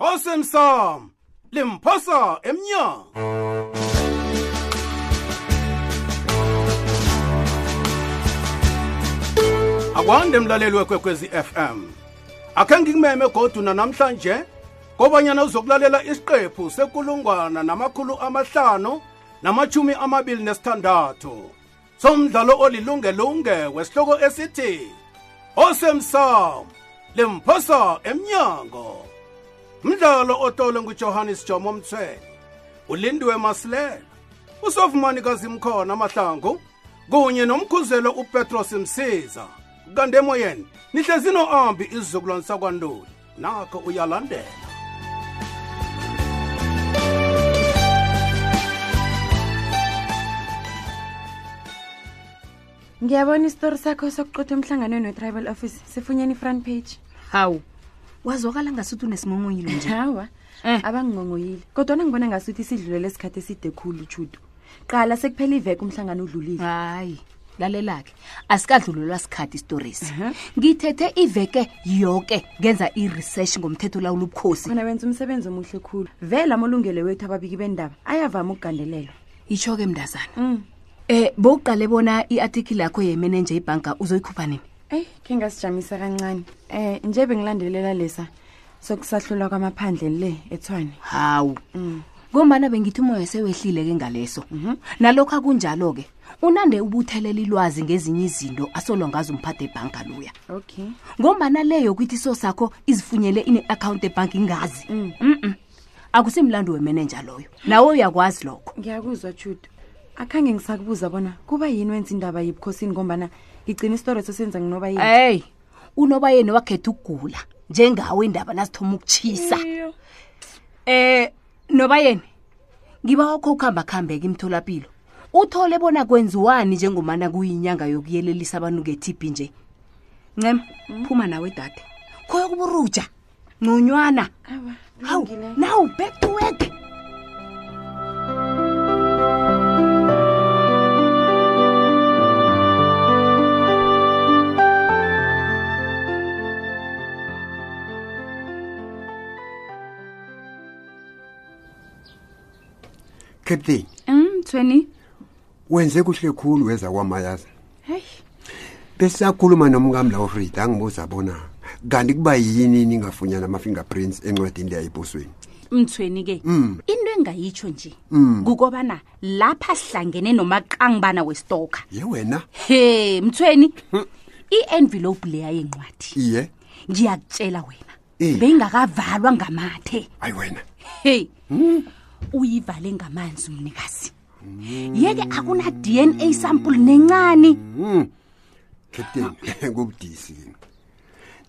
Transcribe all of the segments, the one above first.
awesome sam limphosa emnyango akwande mlaleli wekwekwezi fm akhe ngikumeme godu nanamhlanje kobanyana uzokulalela isiqephu sekulungwana namakhulu amahlanu namachumi amabili nesithandathu somdlalo olilungelunge wesihloko esithi osemsam limphosa emnyango mdlalo otolwe ngujohannes jomo mthweni ulindiwe masilela usofumani kazimkhona mahlangu kunye nomkhuzelo upetros msiza kanti emoyeni nihle zinoambi isizukulwane sakwantoni nakho uyalandela ngiyabona isitori sakho sokuqotha emhlanganweni we-tribal office sifunyene i-front page hawu wazwakala ngasuthi unesimongonyilo nje hawa Eh. abangingongoyile kodwana ngibona ngasuthi sidlulele isikhathi eside khulu judu qala sekuphela iveke umhlangano udlulile hayi lalela-ke asikadlulelwa sikhathi isitorisi ngithethe iveke yoke ngenza i-research ngomthetho lawula ubukhosi khona wenza umsebenzi omuhle khulu vele amalungelo wethu ababiki bendaba ayavama ukugandelelwa itsho-ke mndazana Mm. um bowuqale bona i-artikhile yakho yemenenje ibhanka uzoyikhupha nini eyi khe ngasijamisa kancane um nje bengilandelela lesa sokusahlulwa kwamaphandle le Mm. ethwane hawu ngombana bengithi umoya sewehlile-ke ngaleso Mhm. nalokho akunjalo-ke unande ubuthelela ilwazi ngezinye izinto asolo ngazi umphathe ebhanka luya okay ngombana le yokuthi iso sakho izifunyele ine-akhawunti ebhanki ingazi mm akusimlando wemenenja loyo nawe uyakwazi lokho ngiyakuzwa judu akhange ngisakubuza bona kuba yini wenza indaba yibukhosini ngombana ngigcina isitori sosenza nginoba yini eyi unobayeni wakhetha ukugula njengawo indaba nazithoma ukutshisa um nobayeni ngiba wakho ukuhambahambeka imtholapilo uthole bona kwenziwani njengomana kuyinyanga yokuyelelisa abantu nge-tb nje ncema phuma nawe dade khoyokuburuja ngconywana awa hawu kulungile. nawu back to work captain Mm, um mthweni wenze kuhle khulu weza kwamayaza heyi besisakhuluma nomkamla ufrida angibuza bona kanti kuba yini ningafunyana ama-fingerprints encwadini leya ebusweni mthweni-ke into engayitsho nje kukobana lapha sihlangene nomaqangibana westoka ye wena he mthweni i-envelope leya yencwadi iye ngiyakutshela wena Eh. beyingakavalwa ngamathe ayi wena Hmm? heyi uyivale ngamanzi umnikazi Hmm. yeke akuna-dna sample nencane Mm-hmm. captain kubudisi kini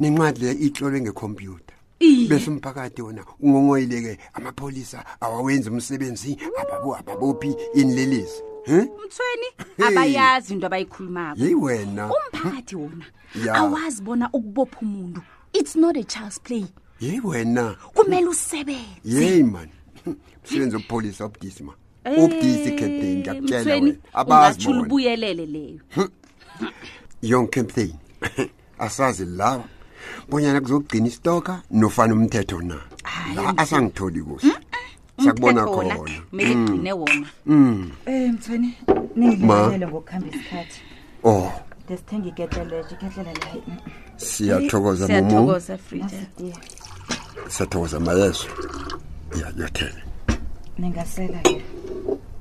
nencwadi leya itlolwe ngekhompyutha Iye. bese umphakathi wona ungongoyileke amapholisa awawenzi umsebenzi ababo ababophi inilelezi um mthweni Hey. abayazi into abayikhulumako yeyi wena Hmm? umphakathi wona Ya. awazi bona ukubopha umuntu it's not a child's play yeyi wena kumele usebenze yeyi mani msebenzi wobupholisa ubudisi ma Eh, ubudisi captain ngiyakutshela wena abazi ungatshula bona ubuyelele leyo young captain asazi lawa bonyana kuzokugcina isitoka nofana umthetho na la asangitholi kuhle sakubona Umthetho wona khona Mm. kumele igcine wona Eh mthweni Ma. ningilele ngokukhamba isikhathi. oh Desithenga iketeleje iketlela la. siyathokoza mumu frida Asidiya. siyathokoza mayeso yayothele Ningasela ke.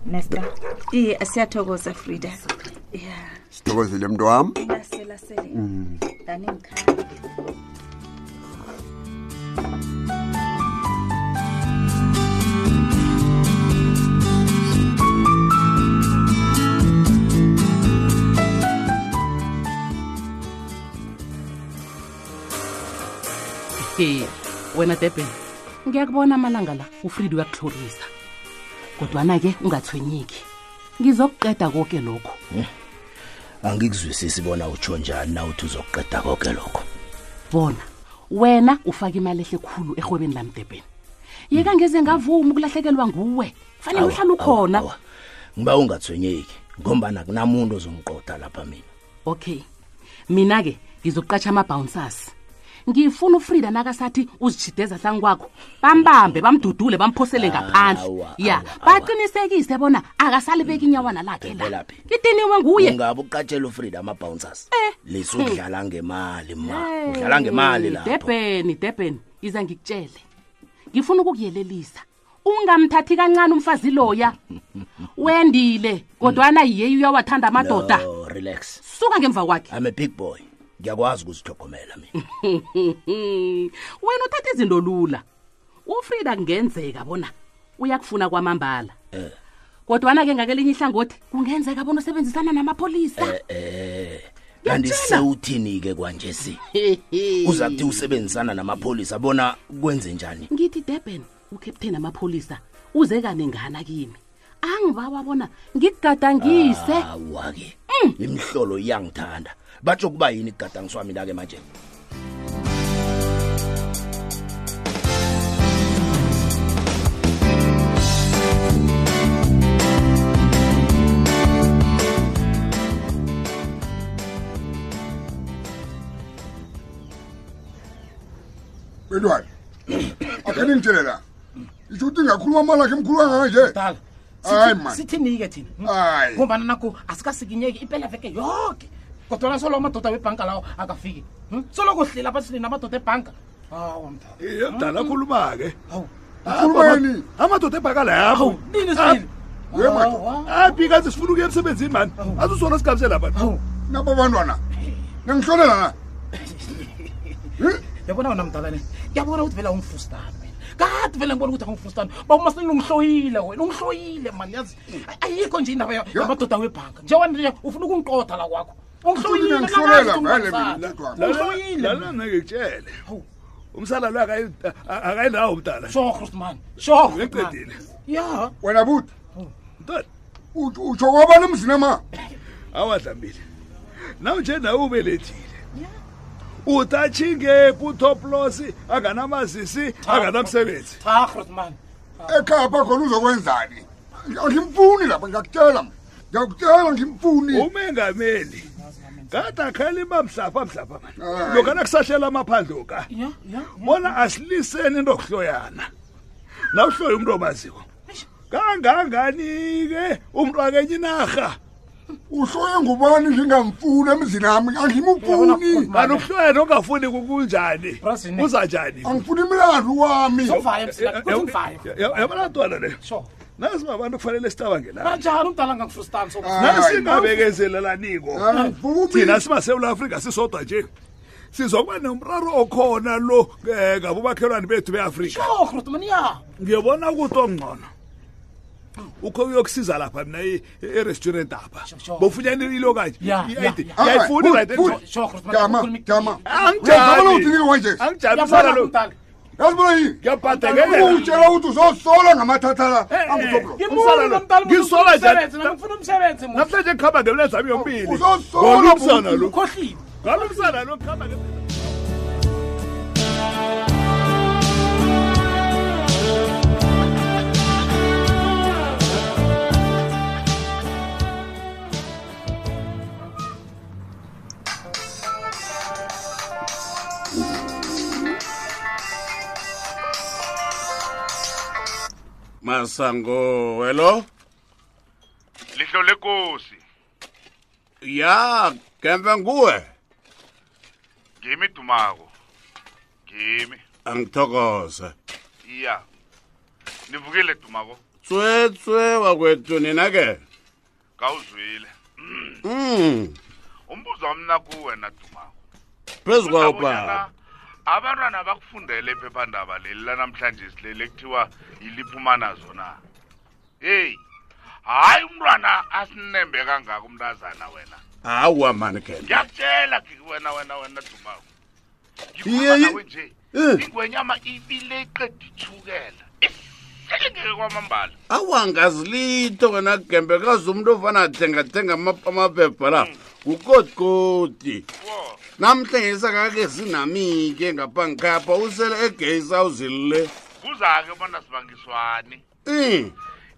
Nesta. iye siyathokoza frida sithokozele mntu Mm. wam ingaselasele dani ngikhaya he wena deben ngiyakubona amalanga la ufridi uyakuhlorisa kodwana-ke ungathwenyeki ngizokuqeda konke lokho Eh, angikuzwisisi bona utsho njani na uthi uzokuqeda konke lokho bona wena ufake imali ehle khulu erhwebeni lami deben yeka ngeze ngavumi ukulahlekelwa nguwe fanele Awa, uhlala ukhona awa, awa. ngiba ungathwenyeki ngombana kunamuntu ozongiqoda lapha mina okay mina-ke ngizokuqatsha ama-bouncers ngifuna ufrida nakasathi uzijideza hlani kwakho bambambe bamdudule bamphosele ngaphandle Awa, ya awa, awa. baqinisekise bona akasalibeki inyawana lakhe la Ngempelaphi. idiniwe nguye ungabe uqatshela ufrida ama-bouncers lise udlala ngemali ma udlala ngemali lapho debheni debheni iza ngikutshele ngifuna ukukuyelelisa ungamthathi kancane umfazi loya wendile kodwana yeyi uyawathanda amadoda Hmm. No, relax suka ngemva kwakhe i'm a big boy ngiyakwazi ukuzihlogomela mina wena uthatha izinto lula ufrida kungenzeka bona uyakufuna kwamambala Eh, kodwana-ke ngakelinye ihlangothi kungenzeka bona usebenzisana namapholisa eh kanti Ngiyakutshela. sewuthini-ke kwanje si Eh, uza kuthi usebenzisana namapholisa bona kwenze njani ngithi durban ukhapteni amapholisa uze kaningana kimi angibawa bona ngikugadangise awa-ke imhlolo iyangithanda batsho kuba yini kugadangiswa mina-ke manje bentwana akhe ningitshele la itsho ukuthi ngakhuluma malakhe emkhulu kangaka nje dala Hayi, man. sithini-ke thina Hmm? Hayi. ngombana naku asikasikinyeki impela veke yoke kodwana solo amadoda webhanka lawo akafiki Hmm? soloko hlela phansi nini amadoda ebhanka awa mdala yodala Eh, akhuluma-ke hawu Ah, ukhulumeni amadoda ebhaka lapho hawu nini sibili we madoda. abi kazi sifuna ukuya emsebenzini mani azusona sigabise lapha hawu nabo bantwana ningihlolela na yabona wona mdalane ngiyabona ukuthi vele awungifustani wena kade vele ngibona ukuthi awungifustani bawumasinini ungihloyile wena ungihloyile mani yazi Ay- ayikho nje indaba ya- yamadoda webhanka nje wena nje ufuna ukungiqoda la kwako Uthini ungihloyile kangaka ngihlolela vele ukuthi mina ungibambisane. ladwana ungihloyile man. ngikutshele Hawu. umsala lo akayindawo mdala sho krustman sho Ngiqedile. ya wena buthi mntwana utsho utsho kwabani emzini ma awadlambile nawu nje nawe ubelethile utatshingepu utoplosi anganamazisi anganamsebenzi cha krustman ekhaya bakhona uzokwenzani ngimfuni lapha ngiyakutshela ma. ngiyakutshela ngimfuni umengameli kade akhalima mhlapha mhlapha mani Hayi. lokana kusahlela amaphandle ka ya ya bona asiliseni into okuhloyana nawuhloya umntu omaziko kangangani-ke umntu akenye inarha uhloye ngubani ngingamfuni emzini ami Uyabona, Khulu, angimfuni ma. kanti ukuhloya nokungafuni kunjani Brazini. kuza njani angifuni imlandu wami Sovayo msila, kuthi mvayo. yabanantwana leyo sho nazi babantu kufanele sitabangelana kanjani umdala ngangifrustani so Ah. nasingabekenzelelaniko Ah, thina angivumi simasewula afrika sisodwa nje sizokuba nomraro okhona lo eh, ngabomakhelwane bethu beafrika sho krustman ya ngiyobona ukuthi ongcono ukho uyokusiza lapha mina i- i- i-restaurant apha Sure, sure. bofunyanelilo kanje Yeah, yeah, I-ID. yeah. Ngiyayifuna Alright, i-right good, and- good. Ah, sho krustman Jama, jama. Uyazama lo udinile angijami kwanje. angijamisana yabona lo umdala yazibona yini ngiyabhadekelela utshela ukuthi uzosola ngamathatha la Eh, eh, angutoplo Umsala ngimuni lo. lomntala Ngisola nje. ngifuna umsebenzi muzi. namhlanje kuhamba ngemlenza ami yombili Uzosola Ngalo umsana buthi. lo ukhohliwe ngalo umsana lo kuhamba ngemlenza- masango welo lihlo lekosi ya gembe nguwe ngimi dumako ngimi angithokoze iya nivukile dumako tswetswe wakwethu nina ke kawuzwile mm. umbuzo wami nakuwe na dumako phezu kwawo baba Bonyana abantwana bakufundele ephephandaba leli lanamhlanje sileli ekuthiwa yiliphumana zona heyi hayi umntwana asinembe kangaka umntazana wena hawa mani gembe ngiyakutshela gigi wena wena wena dumako Yeyi. ngikhuluma nawe nje Eh. ingwenyama ibile iqeda ithukela iselingeke kwamambala awa ngazilito wena gembe kaze umntu ofana athengathenga ama- amaphepha la ngukotikoti namhlanje sakake zinami-ke ngapha ngikhapha usele egeyisi awuzilile kuza-ke bona sibangiswane um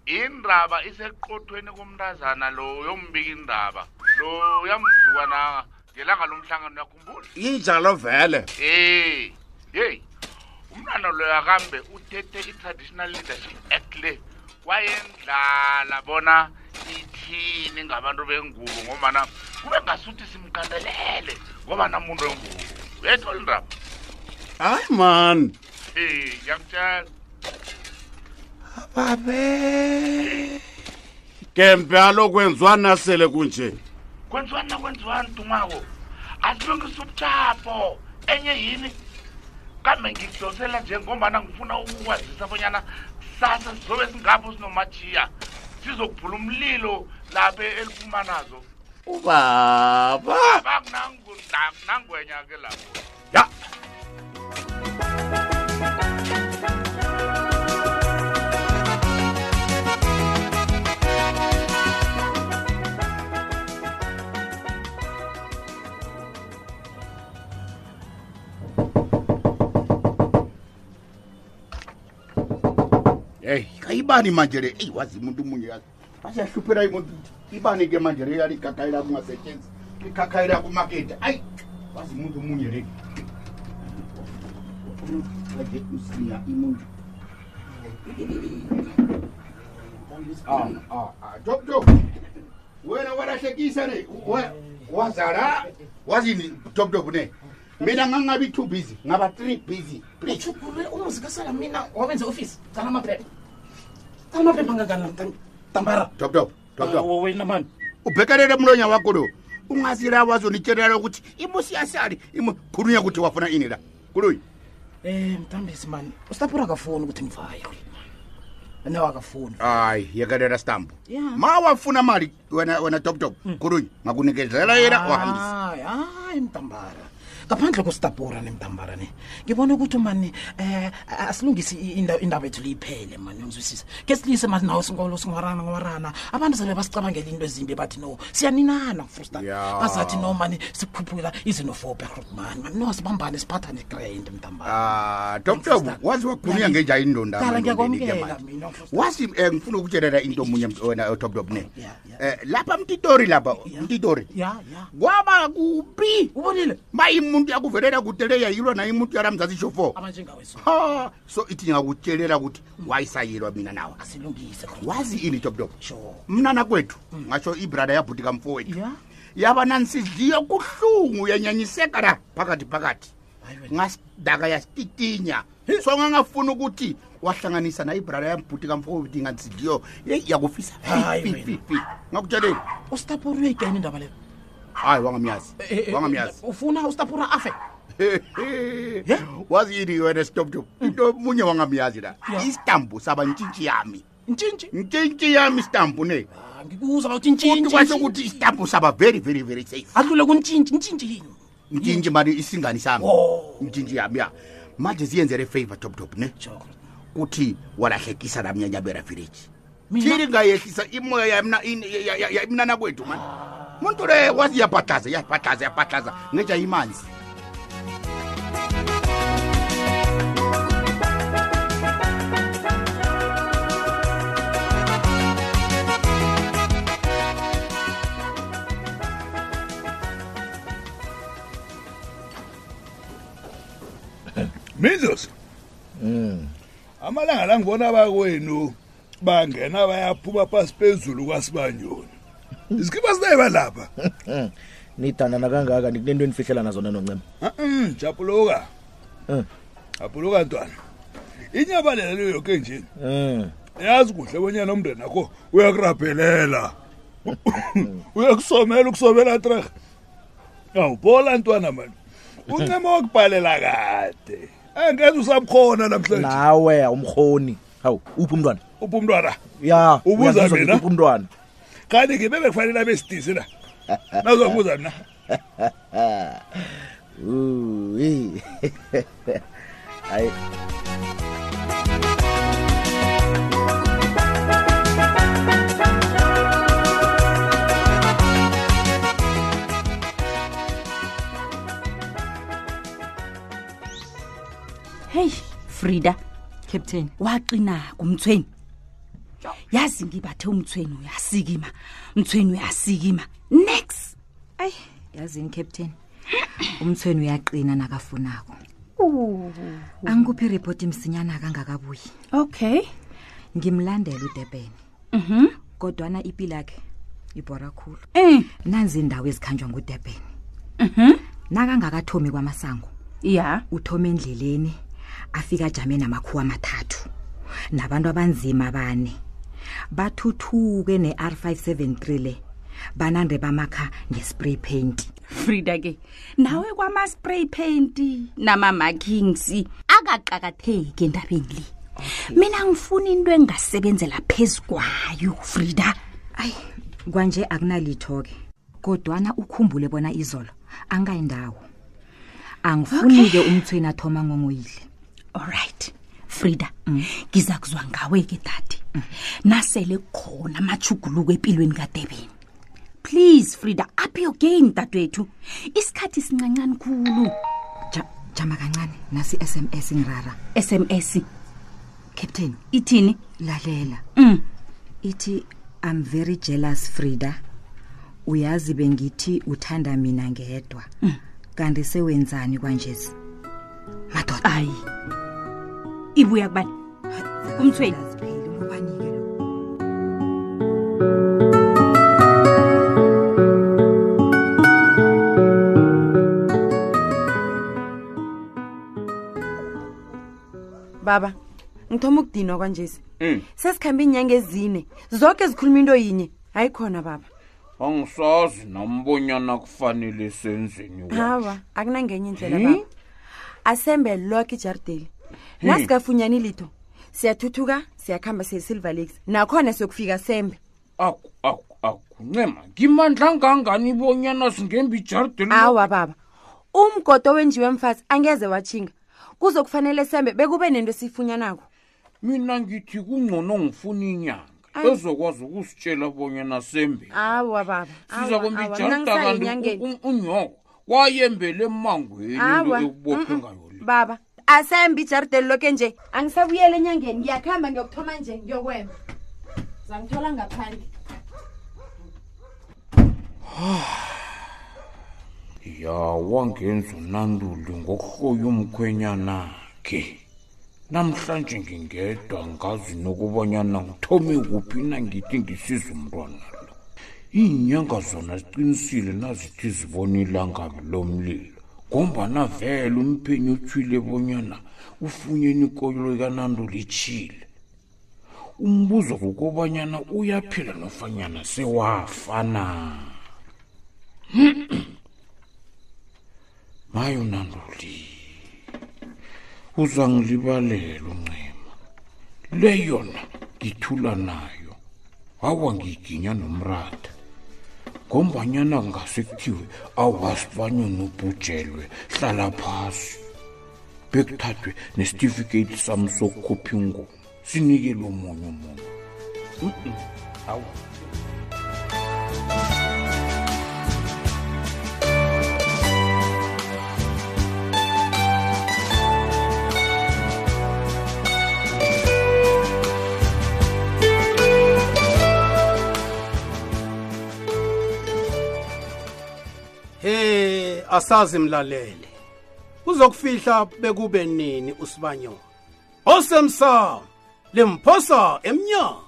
indaba iseqothweni kumntazana lo yombika indaba lo yamzukana ngelanga lomhlangano uyakhumbula injalo vele hey hey umntwana loya kambe uthethe i-traditional leadership act le wayendlala bona ithini ngabantu bengubo ngomana kube ngasuthi simgandelele ngoba namuntu wengubo uyayithola indaba hayi mani hey ngiyakutshela babe kempe alokwenziwana sele kunje kwenziwani nakwenziwani dumako asilungisa ubuchapho enye yini kambe ngikudosela njengombana ngifuna ukwazisa abonyana sasa sizobe singapho sinomajiya sizokubhula umlilo lapha eliphuma nazo ubaba nangwenya ke lapho eyi kayibani manje le eyi wazi umuntu munye yazi asiyahluphela imuntu ibani ke manje le yaligagayi lakho ungasetshenzisi likhakhayi lakho umakete ayi wazi umuntu munye le aje usinya imuntu jobjo wena walahlekisa ne wa- wazala wazini jobjob ne mina ngangabi two busy ngaba three busy please ule umuzi kasala mina wawenze ofisi tsala maphepha tsala maphepha angangana tambara top top top top wena mani ubhekelele mlonya wako lo ungasila wazonditshelela ukuthi ibusi yasali khulunya ukuthi wafuna ini la kuluyi um mtambesi mani usitapura akafuni ukuthi ngivaye nawe akafuni hayi yekelela stambo ma wafuna mali wena wena top top kuluyi ngakunikezela yena Ah. wahambisa Hayi, hayi mtambara ngaphandle kositapura nemtambara ne ngibona ukuthi mani um asilungisi i- inda- indaba yethu liyiphele mani ngizwisisa ke silise mani nawe sinkolo singiwarana ngiwarana abantu sebe basicabangela into ezimbi bathi no siyaninana frustan bazathi no mani sikhuphula izinofobia mani mani no sibambane siphathane grand mtambara Ah, top top wazi wakhulunya ngenja indonda Kala amandondeni ke ngiyakwamukela manje. mina wazi um ngifuna ukutshelela into omunye mt- wena top top ne Eh, lapha mtitori lapha mtitori ya ya kwaba kuphi ubonile mayimuntu yakuvelela kude le yayilwa naye imuntu yala mzansi shofo abanjengawe so ha so ithi ngakutyelela ukuthi wayisayilwa mina nawe asilungise wazi ini toptop mna nakwethu ngasho ibrada yabhuti kamfowethu yaba nansidliyo kuhlungu yanyanyiseka la phakathi phakathi ngasidaka yasitinya so ngangafuni ukuthi wahlanganisa naye ibrada yabhuti kamfowethu ngansidliyo yakufisa Hayi Fi, fi, fi, fi. ngakutsheleli usitapuriwe igani indaba leyo Eh, hayi wangamyazi wangamyazi ufuna usitapura afe Eh? wazi yini wena stoptop Hmm. into munye wangamyazi la isitambu saba ntshintshi yami ntshintshi ntshintshi yami isitambu ne ngikuza bauthi ntshintshi kwasho ukuthi isitambu saba very very very safe adlule kuntshintshi ntshintshi yini ntshintshi mani isingani sami ntshintshi yami ya manje ziyenzele favor toptop ne kuthi walahlekisa la mnyanyabera village thini ngayehlisa imoya yamna- in- ya- ya- ya- yamnana kwethu mani muntu le wazi yabhadlaza yabhadlaza yabhadlaza ngeja imanzi Mizus. Mm. Amalanga la ngibona bakwenu bangena bayaphuma phansi phezulu kwasibanyoni. Isikipa sinayiba lapha. nidandana kangaka nikunento enifihlela nazona noncema Mhm, Japuluka. Mm. Japuluka ntwana. Inyaba lelo yonke nje. Mm. Yazi kuhle bonyana umndeni nakho uyakurabhelela. Uyakusomela ukusomela trek. Awubhola ntwana manje. Uncema wakubhalela kade. Angeke usamkhona namhlanje. nawe awumrhoni hawu uphi umntwana uphi umntwana ya Ubuza uyangizwa ngithi mina? uphi umntwana kanti ngibe bekufanele abesidisi la Ah, nazokubuza mina Uh, eyi. hayi heyi frida captain waqinaka umthweni yazi ngibathe umthweni uyasikima umthweni uyasikima next ayi yazini captain umthweni uyaqina nakafunako angikuphi iripoti msinyana kangakabuyi okay ngimlandela udebheni Mhm. kodwana ipilo yakhe ibhora khulu Mm. nanzi indawo ezikhanjwa ngudebheni Mhm. nakangakathomi kwamasango ya uthoma endleleni afika ajame namakhuwa amathathu nabantu abanzima bane bathuthuke ne-r 573 le banande bamakha nge-spray paint frida ke nawe kwama-spray paint namama-kings akaqakatheki endabeni le mina ngifuna into engasebenzela phezu kwayo frida ayi kwanje akunalitho-ke kodwana ukhumbule bona izolo angayindawo angifuni-ke umthweni athoma ngongoyile allright frida Mm. ngiza kuzwa ngawe ke dade nasele khona amachuguluko empilweni kadebeni please frida up your game dadewethu isikhathi sincancane khulu jama kancane nasi i-sms ngirara sms captain ithini lalela mm. ithi i'm very jealous frida uyazi bengithi uthanda mina ngedwa mm. kanti sewenzani kwanjesi madoda hayi ibuya kubani kumthweni baba ngithoma ukudinwa kwanjesi Mm. sesikhambe iinyanga ezine zonke zikhuluma into yinye hayi khona baba angisazi nambonyana kufanele senzeni wena. hawa akunangenye indlela Hmm? baba asembe loke ijarideli Hmm. nasikafunyani litho siyathuthuka siyakuhamba siyesilver lakes nakhona siyokufika sembe aku aku aku ncema ngimandla ngangani ibonyana singemba ijarideni awa baba umgodo wenjiwe mfazi angeze watshinga kuzokufanele sembe bekube nento esiyifunyanako mina ngithi kungcono ngifuna inyanga Ayi. ezokwazi ukusitshela bonyana sembe awa baba siza awa, kwemba awa, ijarida nangisaya kanti enyangeni. u- u- unyoko wayembele emangweni into Awa, ekubophe mm-mm. ngayo le baba asembi ijarideli loke nje angisabuyele enyangeni ngiyakuhamba ngiyokuthoma nje ngiyokwema zangithola ngaphandle yawangenza unanduli ngokuhoya umkhwenyanakhe namhlanje ngingedwa ngazi nokubanyana ngithome kuphi nangithi ngisiza umntwana lo iinyanga zona ziqinisile nazithi zibona ilangabi lomlilo ngombana vele umphenyi utshwile bonyana ufunyeni ikolo likananduli itshile umbuzo kukobanyana uyaphila nofanyana sewafana mayo nanduli uzangilibalela uncema le yona ngithula nayo wawa ngiginya nomratha ngombanyana kungase kuthiwe awasibanye nobhujelwe hlala phasi bekuthathwe nesitifiketi sami sokukhupha ingoma sinikele omunye umuntu Mm-mm. awa he asazi mlalele uzokufihla bekube nini usibanyoni osemsamo limphosa emnyango